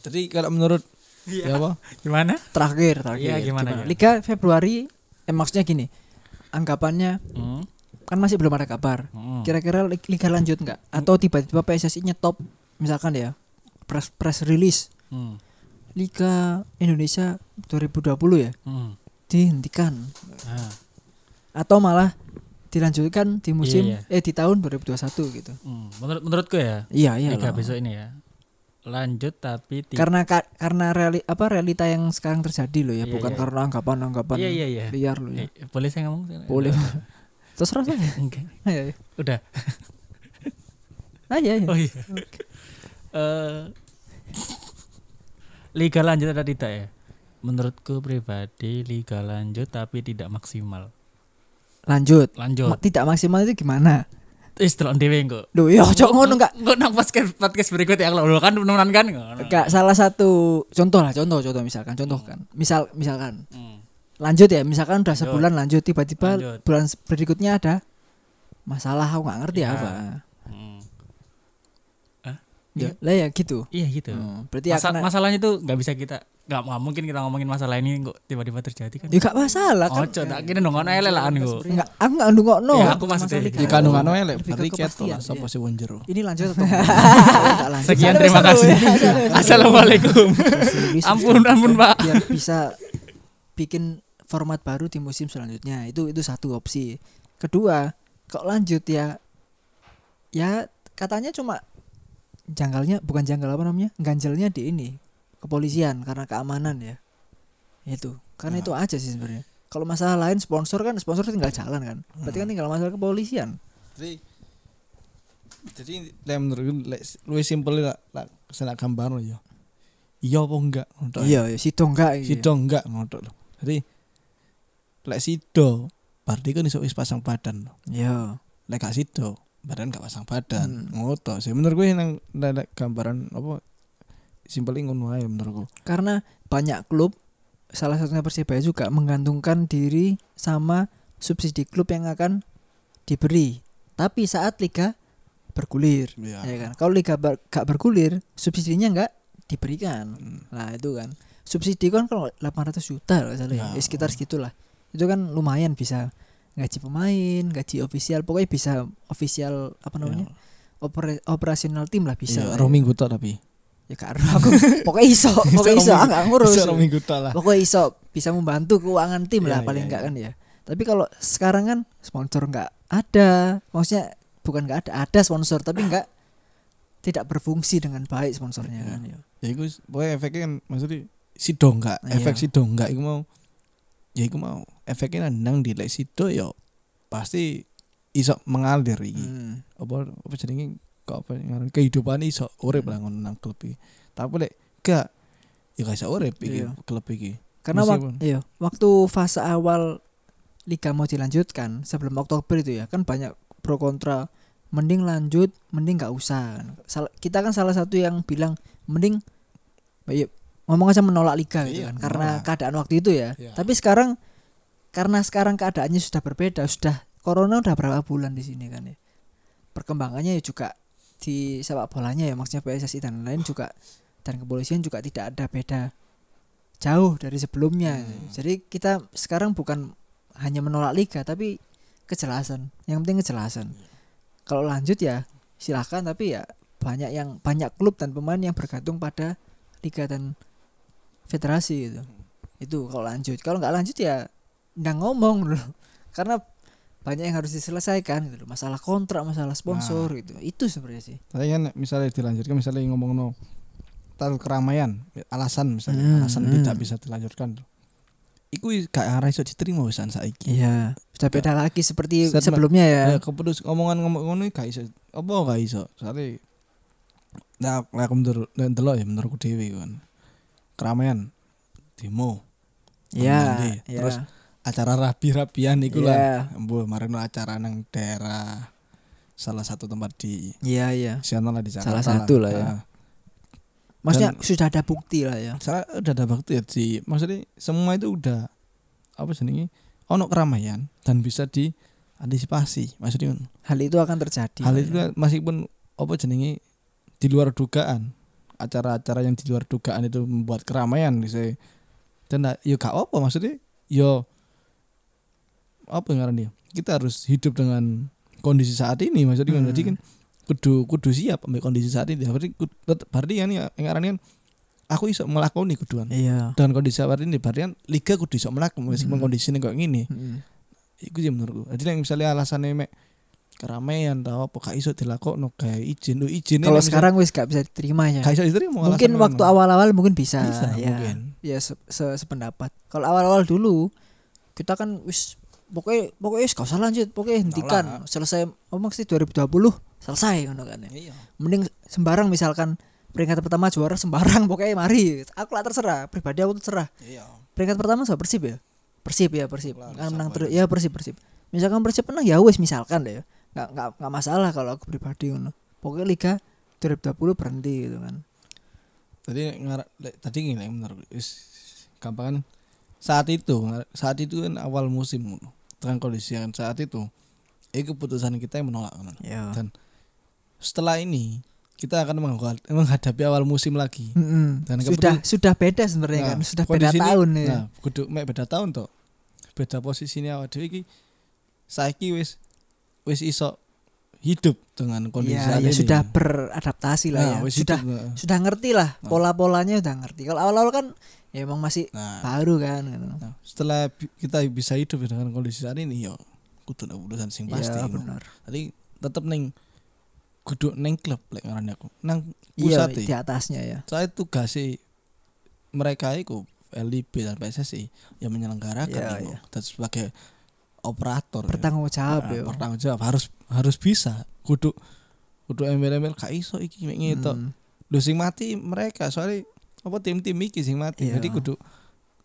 C: Jadi kalau menurut
A: Iya.
C: ya apa?
B: Gimana?
A: terakhir terakhir
B: Iya, gimana, ya?
A: Liga Februari eh, maksudnya gini anggapannya
B: Hmm.
A: kan masih belum ada kabar.
B: Mm.
A: Kira-kira lig- liga lanjut nggak? Atau tiba-tiba PSSI nyetop misalkan ya press press release
B: Mm.
A: Liga Indonesia 2020 ya
B: Mm.
A: dihentikan
B: Ah,
A: atau malah dilanjutkan di musim
B: Iya,
A: eh di tahun 2021 gitu.
B: mm. Menurut menurutku ya,
A: Iya iya.
B: liga
A: loh.
B: besok ini ya. Lanjut tapi tidak
A: Karena ka- karena reali, apa realita yang sekarang terjadi loh ya,
B: Iya,
A: bukan
B: iya.
A: karena anggapan-anggapan
B: Iya iya iya.
A: liar loh ya.
B: Eh, Boleh saya ngomong?
A: Boleh. <laughs> Terus rasanya.
B: Enggak.
A: Ayo, ayo.
B: Udah.
A: Ayo, ayo.
B: Oh iya. Eh, liga lanjut atau tidak ya? Menurutku pribadi liga lanjut tapi tidak maksimal.
A: Lanjut. Ma-
B: Lanjut.
A: tidak maksimal itu gimana?
B: Wis delok dhewe engko.
A: Loh, ya ojo ngono enggak.
B: Engko nang podcast podcast berikutnya aku lho kan teman kan.
A: Enggak salah satu contoh lah, contoh contoh misalkan, contoh
B: Hmm.
A: kan. Misal misalkan lanjut ya, misalkan udah
B: Lanjut.
A: sebulan lanjut tiba-tiba
B: Lanjut.
A: bulan se- berikutnya ada masalah aku nggak ngerti ya
B: Iya.
A: apa.
B: Hmm.
A: Ya,
B: Iya.
A: lah ya gitu.
B: Iya gitu.
A: Hmm, berarti ya
B: Masa-
A: karena
B: masalahnya tuh nggak bisa kita nggak nggak mungkin kita ngomongin masalah ini kok tiba-tiba terjadi kan.
A: ya nggak masalah kan.
B: Ojo tak kira nongon elek lah kok.
A: Enggak, aku enggak ndungokno.
B: Ya, aku maksudnya.
A: Masalah
C: Ya
A: liga.
C: kandungan elek
A: Lebih ke
C: berarti ketok
A: kepastian,
C: lah sapa
A: iya.
C: sih wong jero.
A: Ini
B: <laughs>
A: lanjut atau enggak? Tak lanjut.
B: Sekian
A: Salah,
B: terima
A: salah,
B: kasih.
A: ya, salah.
B: Assalamualaikum.
A: Serius,
B: Ampun,
A: serius.
B: ampun, Pak.
A: biar bisa bikin format baru di musim selanjutnya itu itu satu opsi kedua kok lanjut ya ya katanya cuma janggalnya bukan janggal apa namanya ganjalnya di ini kepolisian karena keamanan ya itu karena itu aja sih sebenarnya kalau masalah lain sponsor kan sponsor tinggal jalan kan berarti kan tinggal masalah kepolisian
C: Jadi jadi lek menurutku lek luwih simpel lah lah senak gambar yo. ya. Iya apa enggak? ngono tok.
A: iya iya sido enggak iya.
C: Sido enggak ngono tok lho. Jadi lek sido berarti kan iso wis pasang badan. lho.
A: iya
C: Lek gak sido badan gak pasang
A: Hmm.
C: badan. Ngono tok. Sih menurut gue nang nang- nang gambaran apa simpel ngono ae menurutku.
A: karena banyak klub salah satunya Persebaya juga menggantungkan diri sama subsidi klub yang akan diberi tapi saat liga bergulir
C: Iya.
A: ya kan kalau liga ber- gak bergulir subsidinya nggak diberikan
C: Hmm.
A: lah itu kan subsidi kan kalau 800 juta loh salah ya.
C: Ya.
A: Ya, sekitar segitulah itu kan lumayan bisa gaji pemain gaji ofisial pokoknya bisa ofisial apa namanya Opera- operasional tim lah bisa
C: Iya,
A: lah ya.
C: rong minggu tok tapi.
A: ya karena aku pokoknya <laughs> iso pokoknya iso aku nggak ngurus
C: Iso rong minggu tok lah.
A: pokoknya iso bisa membantu keuangan tim lah
C: Iya,
A: paling
C: iya,
A: enggak kan ya tapi kalau sekarang kan sponsor nggak ada maksudnya bukan nggak ada ada sponsor tapi nggak tidak berfungsi dengan baik sponsornya kan ya
C: ya iku s- pokoknya efeknya kan maksudnya sido enggak
A: Iya.
C: efek sido enggak iku mau ya iku mau efeknya nang di lek sido ya pasti iso mengalir iki
A: Hmm.
C: apa apa jenenge kok apa ngaran kehidupan iso urip lah ngono nang klub iki tapi lek gak ya gak iso urip iki
A: Iya.
C: klub iki
A: karena wak-
C: Meskipun-
A: iya, waktu fase awal liga mau dilanjutkan sebelum Oktober itu ya kan banyak pro kontra mending lanjut mending nggak usah kan. Sal- kita kan salah satu yang bilang mending ya, ngomong aja menolak liga gitu
C: Iya,
A: kan karena
C: menolak.
A: keadaan waktu itu ya
C: Iya.
A: tapi sekarang karena sekarang keadaannya sudah berbeda sudah corona udah berapa bulan di sini kan ya perkembangannya ya juga di sepak bolanya ya maksudnya PSSI dan lain juga dan kepolisian juga tidak ada beda jauh dari sebelumnya jadi kita sekarang bukan hanya menolak liga tapi kejelasan yang penting kejelasan kalau lanjut ya silahkan tapi ya banyak yang banyak klub dan pemain yang bergantung pada liga dan federasi gitu itu kalau lanjut kalau nggak lanjut ya nggak ngomong dulu <laughs> karena banyak yang harus diselesaikan gitu loh. masalah kontrak masalah sponsor gitu itu sebenarnya sih
C: tapi kan misalnya dilanjutkan misalnya ngomong no tal keramaian alasan misalnya
A: Hmm,
C: alasan
A: hmm.
C: tidak bisa dilanjutkan iku is- gak arah iso diterima wisan saiki
A: iya sudah beda lagi seperti
C: Statement.
A: sebelumnya ya
C: Ya, keputus omongan ngomong ngono iki gak iso. Apa gak iso? Soale nah lek menurut nek delok ya menurutku dhewe iku kan. Keramaian demo
A: Iya,
C: Nanti.
A: iya.
C: Terus acara rabi-rabian iku
A: Iya.
C: lah. Mbuh marino acara nang daerah salah satu tempat di
A: iya iya
C: sana lah di Jakarta.
A: Salah satu lah ya.
C: Nah,
A: maksudnya
C: Dan-
A: sudah ada bukti lah ya
C: Salah udah ada bakti ya di maksudnya semua itu udah apa jenenge ono keramaian dan bisa diantisipasi. Maksudnya ngono.
A: hal itu akan terjadi
C: hal itu kan meskipun apa jenenge di luar dugaan acara-acara yang di luar dugaan itu membuat keramaian gitu bisa ya dan nah, yo gak ya, apa maksudnya yo apa yang ngaran dia kita harus hidup dengan kondisi saat ini maksudnya kan
A: Hmm.
C: jadi kan kudu kudu siap ambil kondisi saat ini berarti kud- tet- berarti kan ya yang ngaran kan aku iso melakoni kuduan
A: Iya.
C: dan kondisi saat ini berarti kan liga kudu iso melakoni meskipun
A: Hmm.
C: kondisinya kayak gini
A: Mm.
C: Iku sih menurutku. Jadi yang misalnya alasannya mek keramaian tau apa gak iso dilakokno kayak izin lu izin
A: Kalau sekarang wis gak bisa diterima ya.
C: gak iso diterima
A: Mungkin
C: alasannya
A: waktu
C: ngono.
A: awal-awal mungkin bisa.
C: bisa
A: ya.
C: mungkin.
A: Ya se- se- sependapat. Kalau awal-awal dulu kita kan wis pokoknya pokoknya wis gak usah lanjut, pokoknya hentikan. Selesai omong sih 2020 selesai ngono kan. ya.
C: Iya.
A: Mending sembarang misalkan peringkat pertama juara sembarang <laughs> pokoknya mari. Aku lah terserah, pribadi aku terserah.
C: Iya.
A: Peringkat pertama sama Persib ya. Persib ya Persib.
C: Lah,
A: Kan menang terus
C: sama
A: ya Persib Persib. Misalkan Persib menang ya wis misalkan deh. ya. Nggak nggak nggak masalah kalau aku pribadi ngono. Pokoknya liga 2020 berhenti gitu kan.
C: Jadi ngara- le- tadi gini lek menurutku is gampang kan saat itu ngara- saat itu kan awal musim ngono. Dengan kondisi yang saat itu itu keputusan kita yang menolak ngono.
A: Ya.
C: Dan setelah ini kita akan menghad- menghadapi awal musim lagi. Dan
A: sudah sudah beda sebenarnya kan.
C: Nah,
A: Sudah beda
C: kondisi ini-
A: tahun ya.
C: Nah, kudu mek beda tahun toh. Beda posisinya awak dhewe iki saiki wis wis iso hidup dengan kondisi
A: ya,
C: saat
A: ya
C: ini.
A: sudah beradaptasi lah
C: Nah,
A: ya.
C: wis
A: Sudah
C: hidup, nah.
A: sudah ngerti lah
C: Nah.
A: pola-polanya udah ngerti. Kalau awal-awal kan ya emang masih
C: Nah,
A: baru kan gitu.
C: nah, setelah bi- kita bisa hidup dengan kondisi saat ini yo kudu ada urusan sing pasti.
A: Iya
C: no.
A: benar.
C: Tapi tetep ning kudu ning klub lek ngarani aku. Nang
A: Iya
C: pusate.
A: di atasnya ya.
C: saya tugasi mereka itu LIB dan PSSI yang ya menyelenggarakan
A: Iya,
C: itu
A: iya.
C: dan sebagai operator ya.
A: Bertanggung jawab
C: Nah,
A: ya.
C: pertanggung jawab Eh, harus harus bisa kudu kudu embel-embel gak iso iki mek ngene tok.
A: Hmm.
C: Lho sing mati mereka soalnya apa tim-tim iki sing mati
A: Iya.
C: jadi kudu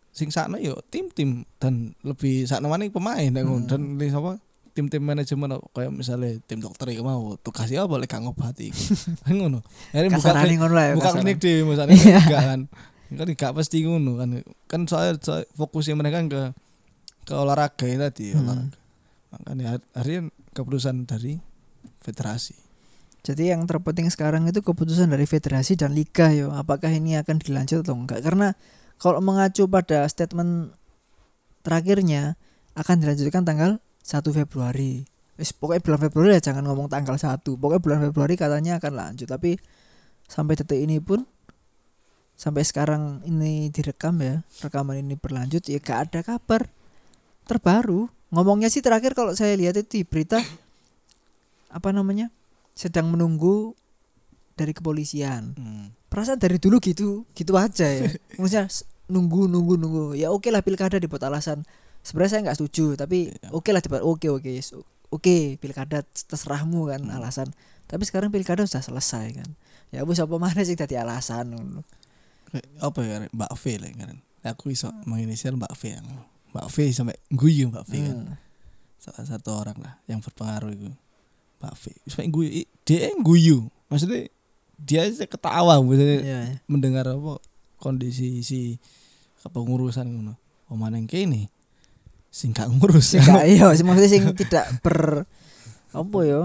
C: sing sakno yo tim-tim dan lebih sakno maning pemain
A: Hmm.
C: hmm. dan li- apa tim-tim manajemen apa, kayak misalnya tim dokter iku mau tugasnya apa lek gak
A: <laughs>
C: ngobati iku. Kan ngono akhirnya buka
A: Kasarane
C: klinik
A: ngono lah ya.
C: buka
A: kasarane.
C: klinik deh misalnya enggak kan kan gak pasti ngono kan kan soalnya soalnya fokusnya mereka kan ke ke olahraga ya tadi
A: Hmm.
C: olahraga makanya har- harian keputusan dari federasi
A: Jadi yang terpenting sekarang itu keputusan dari federasi dan liga yo, apakah ini akan dilanjut atau enggak? Karena kalau mengacu pada statement terakhirnya akan dilanjutkan tanggal 1 Februari. Wis, pokoknya bulan Februari ya jangan ngomong tanggal 1. Pokoknya bulan Februari katanya akan lanjut, tapi sampai detik ini pun sampai sekarang ini direkam ya, rekaman ini berlanjut ya gak ada kabar terbaru. Ngomongnya sih terakhir kalau saya lihat itu di berita apa namanya? sedang menunggu dari kepolisian. Perasaan dari dulu gitu, gitu aja
C: <laughs>
A: ya. Maksudnya s- nunggu nunggu nunggu. Ya oke lah pilkada dibuat alasan. Sebenarnya saya nggak setuju, tapi
C: Iya.
A: oke lah dibuat oke oke s- oke pilkada terserahmu kan
C: Hmm.
A: alasan. Tapi sekarang pilkada sudah selesai kan. Ya wis apa mana sih tadi alasan ngono.
C: Kayak apa ya Ren? Mbak V lah kan aku bisa menginisial Mbak V yang Mbak V sampai guyu Mbak V kan
A: Hmm.
C: salah satu orang lah yang berpengaruh itu Mbak V sampai guyu I- dia yang guyu maksudnya dia aja ketawa maksudnya
A: Iya.
C: mendengar apa kondisi si kepengurusan ngono. Oman yang kene sing gak ngurus.
A: Sing
C: <laughs>
A: gak- iya, sing- maksudnya sing tidak ber apa ya?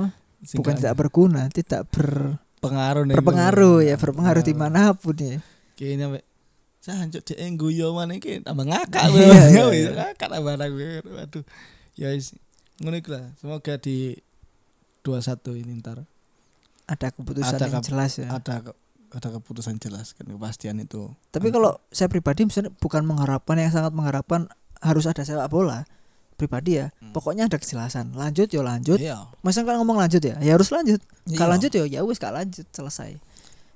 C: Sing iya.
A: Bukan
C: gak
A: tidak berguna, tidak ber,
C: pengaruh Nah, ning
A: berpengaruh
C: ngono.
A: ya, berpengaruh
C: Iya.
A: dimanapun ya.
C: Kene sampe jancuk dhek guyu oman yang kene tambah ngakak.
A: <laughs> Iya,
C: Wes, <laughs>
A: iya,
C: wes,
A: iya.
C: Ngakak tambah aku. Aduh. Ya wis ngono iku lah. Semoga di 21 ini ntar
A: Ada keputusan
C: Ada
A: yang
C: kep-
A: jelas ya.
C: ada ke- ada keputusan jelas kan kepastian itu. Kan
A: Tapi kalau saya pribadi misalnya bukan mengharapkan yang sangat mengharapkan harus ada sepak bola pribadi ya. Pokoknya ada kejelasan. Lanjut ya lanjut.
C: Hmm. Iya.
A: Masa kan ngomong lanjut ya? Ya harus lanjut. Kalau
C: Iya.
A: lanjut ya ya wis gak lanjut selesai.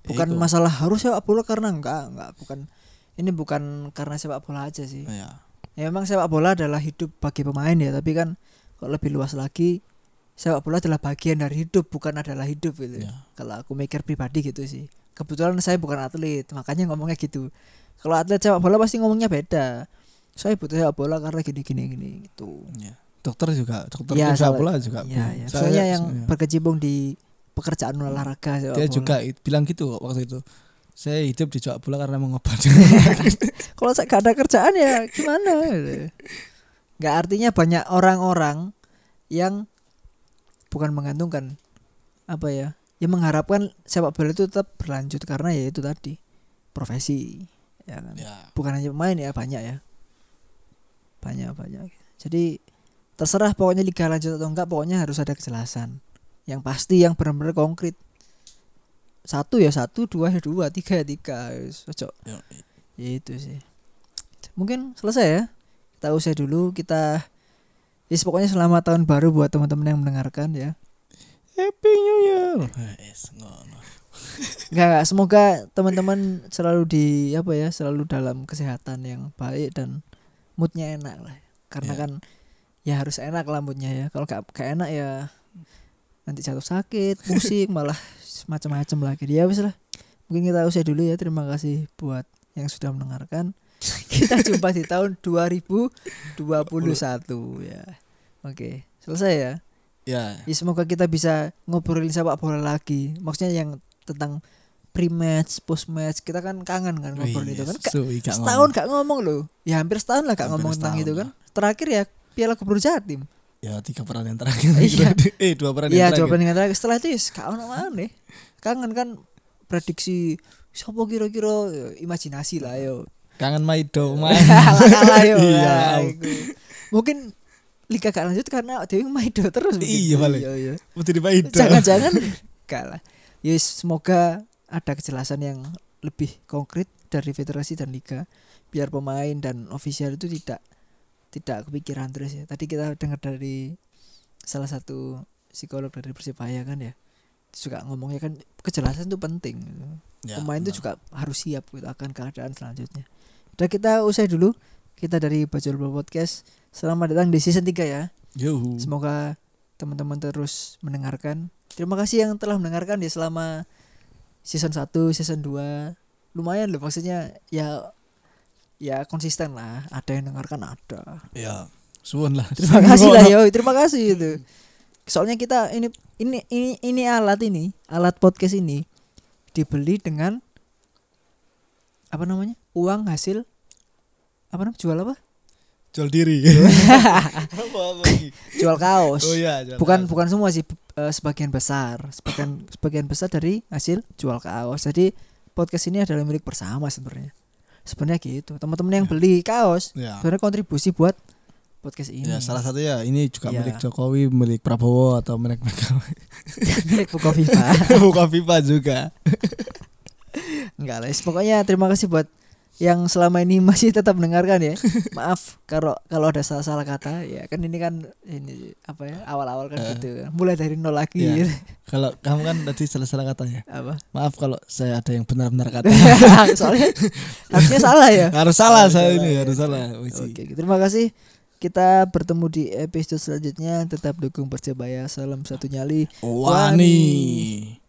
A: Bukan
C: Iku.
A: masalah harus sepak bola karena enggak enggak bukan ini bukan karena sepak bola aja sih.
C: Iya.
A: Ya memang sepak bola adalah hidup bagi pemain ya, tapi kan kalau lebih luas lagi sepak bola adalah bagian dari hidup bukan adalah hidup gitu.
C: Iya.
A: Kalau aku mikir pribadi gitu sih. Kebetulan saya bukan atlet, makanya ngomongnya gitu. Kalau atlet sepak bola pasti ngomongnya beda. Saya butuh sepak bola karena gini gini gini gitu.
C: Iya. Dokter juga, dokter
A: Iya,
C: tim sepak
A: soalnya-
C: bola juga.
A: Iya, ya.
C: Saya-
A: Soalnya yang
C: iya.
A: berkecimpung di pekerjaan olahraga sepak
C: dia
A: bola.
C: juga i- bilang gitu kok waktu itu. Saya hidup di sepak bola karena mengobati.
A: <laughs> kalau saya gak ada kerjaan ya gimana nggak artinya banyak orang-orang yang bukan menggantungkan apa ya yang mengharapkan sepak bola itu tetap berlanjut karena ya itu tadi profesi ya kan
C: ya,
A: bukan hanya pemain ya banyak ya banyak banyak jadi terserah pokoknya liga lanjut atau enggak pokoknya harus ada kejelasan yang pasti yang benar-benar konkret satu ya satu dua ya dua tiga ya tiga Wis, ojo ya itu sih mungkin selesai ya kita usai dulu kita Yes, pokoknya selamat tahun baru buat teman-teman yang mendengarkan ya.
C: Happy New Year. Yes, ngono.
A: Enggak, enggak. semoga teman-teman selalu di apa ya, selalu dalam kesehatan yang baik dan moodnya enak lah. Karena
C: Iya.
A: kan ya harus enak lah moodnya ya. Kalau gak, gak enak ya nanti jatuh sakit, pusing malah macam-macam lagi. Ya wis lah. Mungkin kita usai dulu ya. Terima kasih buat yang sudah mendengarkan. Kita jumpa di tahun 2021 ya. Oke, selesai ya.
C: Ya.
A: Ya, semoga kita bisa ngobrolin sepak bola lagi. Maksudnya yang tentang pre-match, post-match. Kita kan kangen kan ngobrol itu kan. Ka-
C: Suwi gak
A: setahun gak
C: ngomong.
A: ngomong loh. Ya hampir setahun lah gak
C: Hampir
A: ngomong tentang
C: setahun
A: itu kan. Terakhir ya Piala Gubernur Jatim.
C: Ya tiga peran yang terakhir.
A: kan? Iya.
C: eh dua peran
A: Iya
C: yang terakhir.
A: jawaban dengan terakhir. Setelah itu ya gak ono maneh. Kangen kan prediksi siapa kira-kira Ya, imajinasi lah yo.
C: Kangen
A: <laughs>
C: Maido,
A: Kalah
C: <laughs>
A: kalah yo.
C: Iya.
A: Lah, iku. Mungkin Liga gak lanjut karena Dewi Maido terus mungkin.
C: Iya, balik.
A: iya.
C: Putri Maido.
A: <laughs> Jangan-jangan kalah. Ya semoga ada kejelasan yang lebih konkret dari federasi dan liga biar pemain dan ofisial itu tidak tidak kepikiran terus ya. Tadi kita dengar dari salah satu psikolog dari Persibaya kan ya suka ngomongnya kan kejelasan itu penting. gitu.
C: Ya,
A: pemain itu
C: benar.
A: juga harus siap gitu akan keadaan selanjutnya. Udah kita usai dulu. Kita dari Bajul Bola Podcast. Selamat datang di season 3 ya.
C: Yuhu.
A: Semoga teman-teman terus mendengarkan. Terima kasih yang telah mendengarkan ya selama season 1, season 2. Lumayan loh maksudnya ya ya konsisten lah. Ada yang dengarkan ada.
C: Ya. Suwon lah.
A: Terima kasih lah ya. yo, terima kasih itu. Soalnya kita ini ini ini ini alat ini, alat podcast ini dibeli dengan apa namanya? uang hasil apa namanya? jual apa?
C: Jual
A: <laughs>
C: diri. Apa-apa lagi?
A: Jual kaos.
C: Oh iya, jual
A: bukan
C: kaos.
A: bukan semua sih be- eh, sebagian besar sebagian sebagian besar dari hasil jual kaos jadi podcast ini adalah milik bersama sebenarnya sebenarnya gitu teman-teman yang beli kaos
C: Ya.
A: sebenarnya kontribusi buat podcast ini
C: Ya, salah satu ya ini juga
A: Iya.
C: milik Jokowi, milik Prabowo atau milik Megawati.
A: <laughs> milik Bukoviva
C: Bukan FIFA juga.
A: enggak lah pokoknya terima kasih buat yang selama ini masih tetap mendengarkan ya maaf kalau kalau ada salah-salah kata ya kan ini kan ini apa ya awal-awal kan gitu kan. mulai dari nol lagi
C: Eh. Ya. Kalau kamu kan tadi salah-salah katanya.
A: <laughs> apa <laughs>
C: Maaf kalau saya ada yang benar-benar kata.
A: soalnya harusnya salah ya
C: harus salah
A: Harus
C: saya
A: salah,
C: ini,
A: ya.
C: harus salah. Wih, sih.
A: Oke, oke. terima kasih. Kita bertemu di episode selanjutnya. Tetap dukung Persebaya. Salam satu nyali.
C: Wani.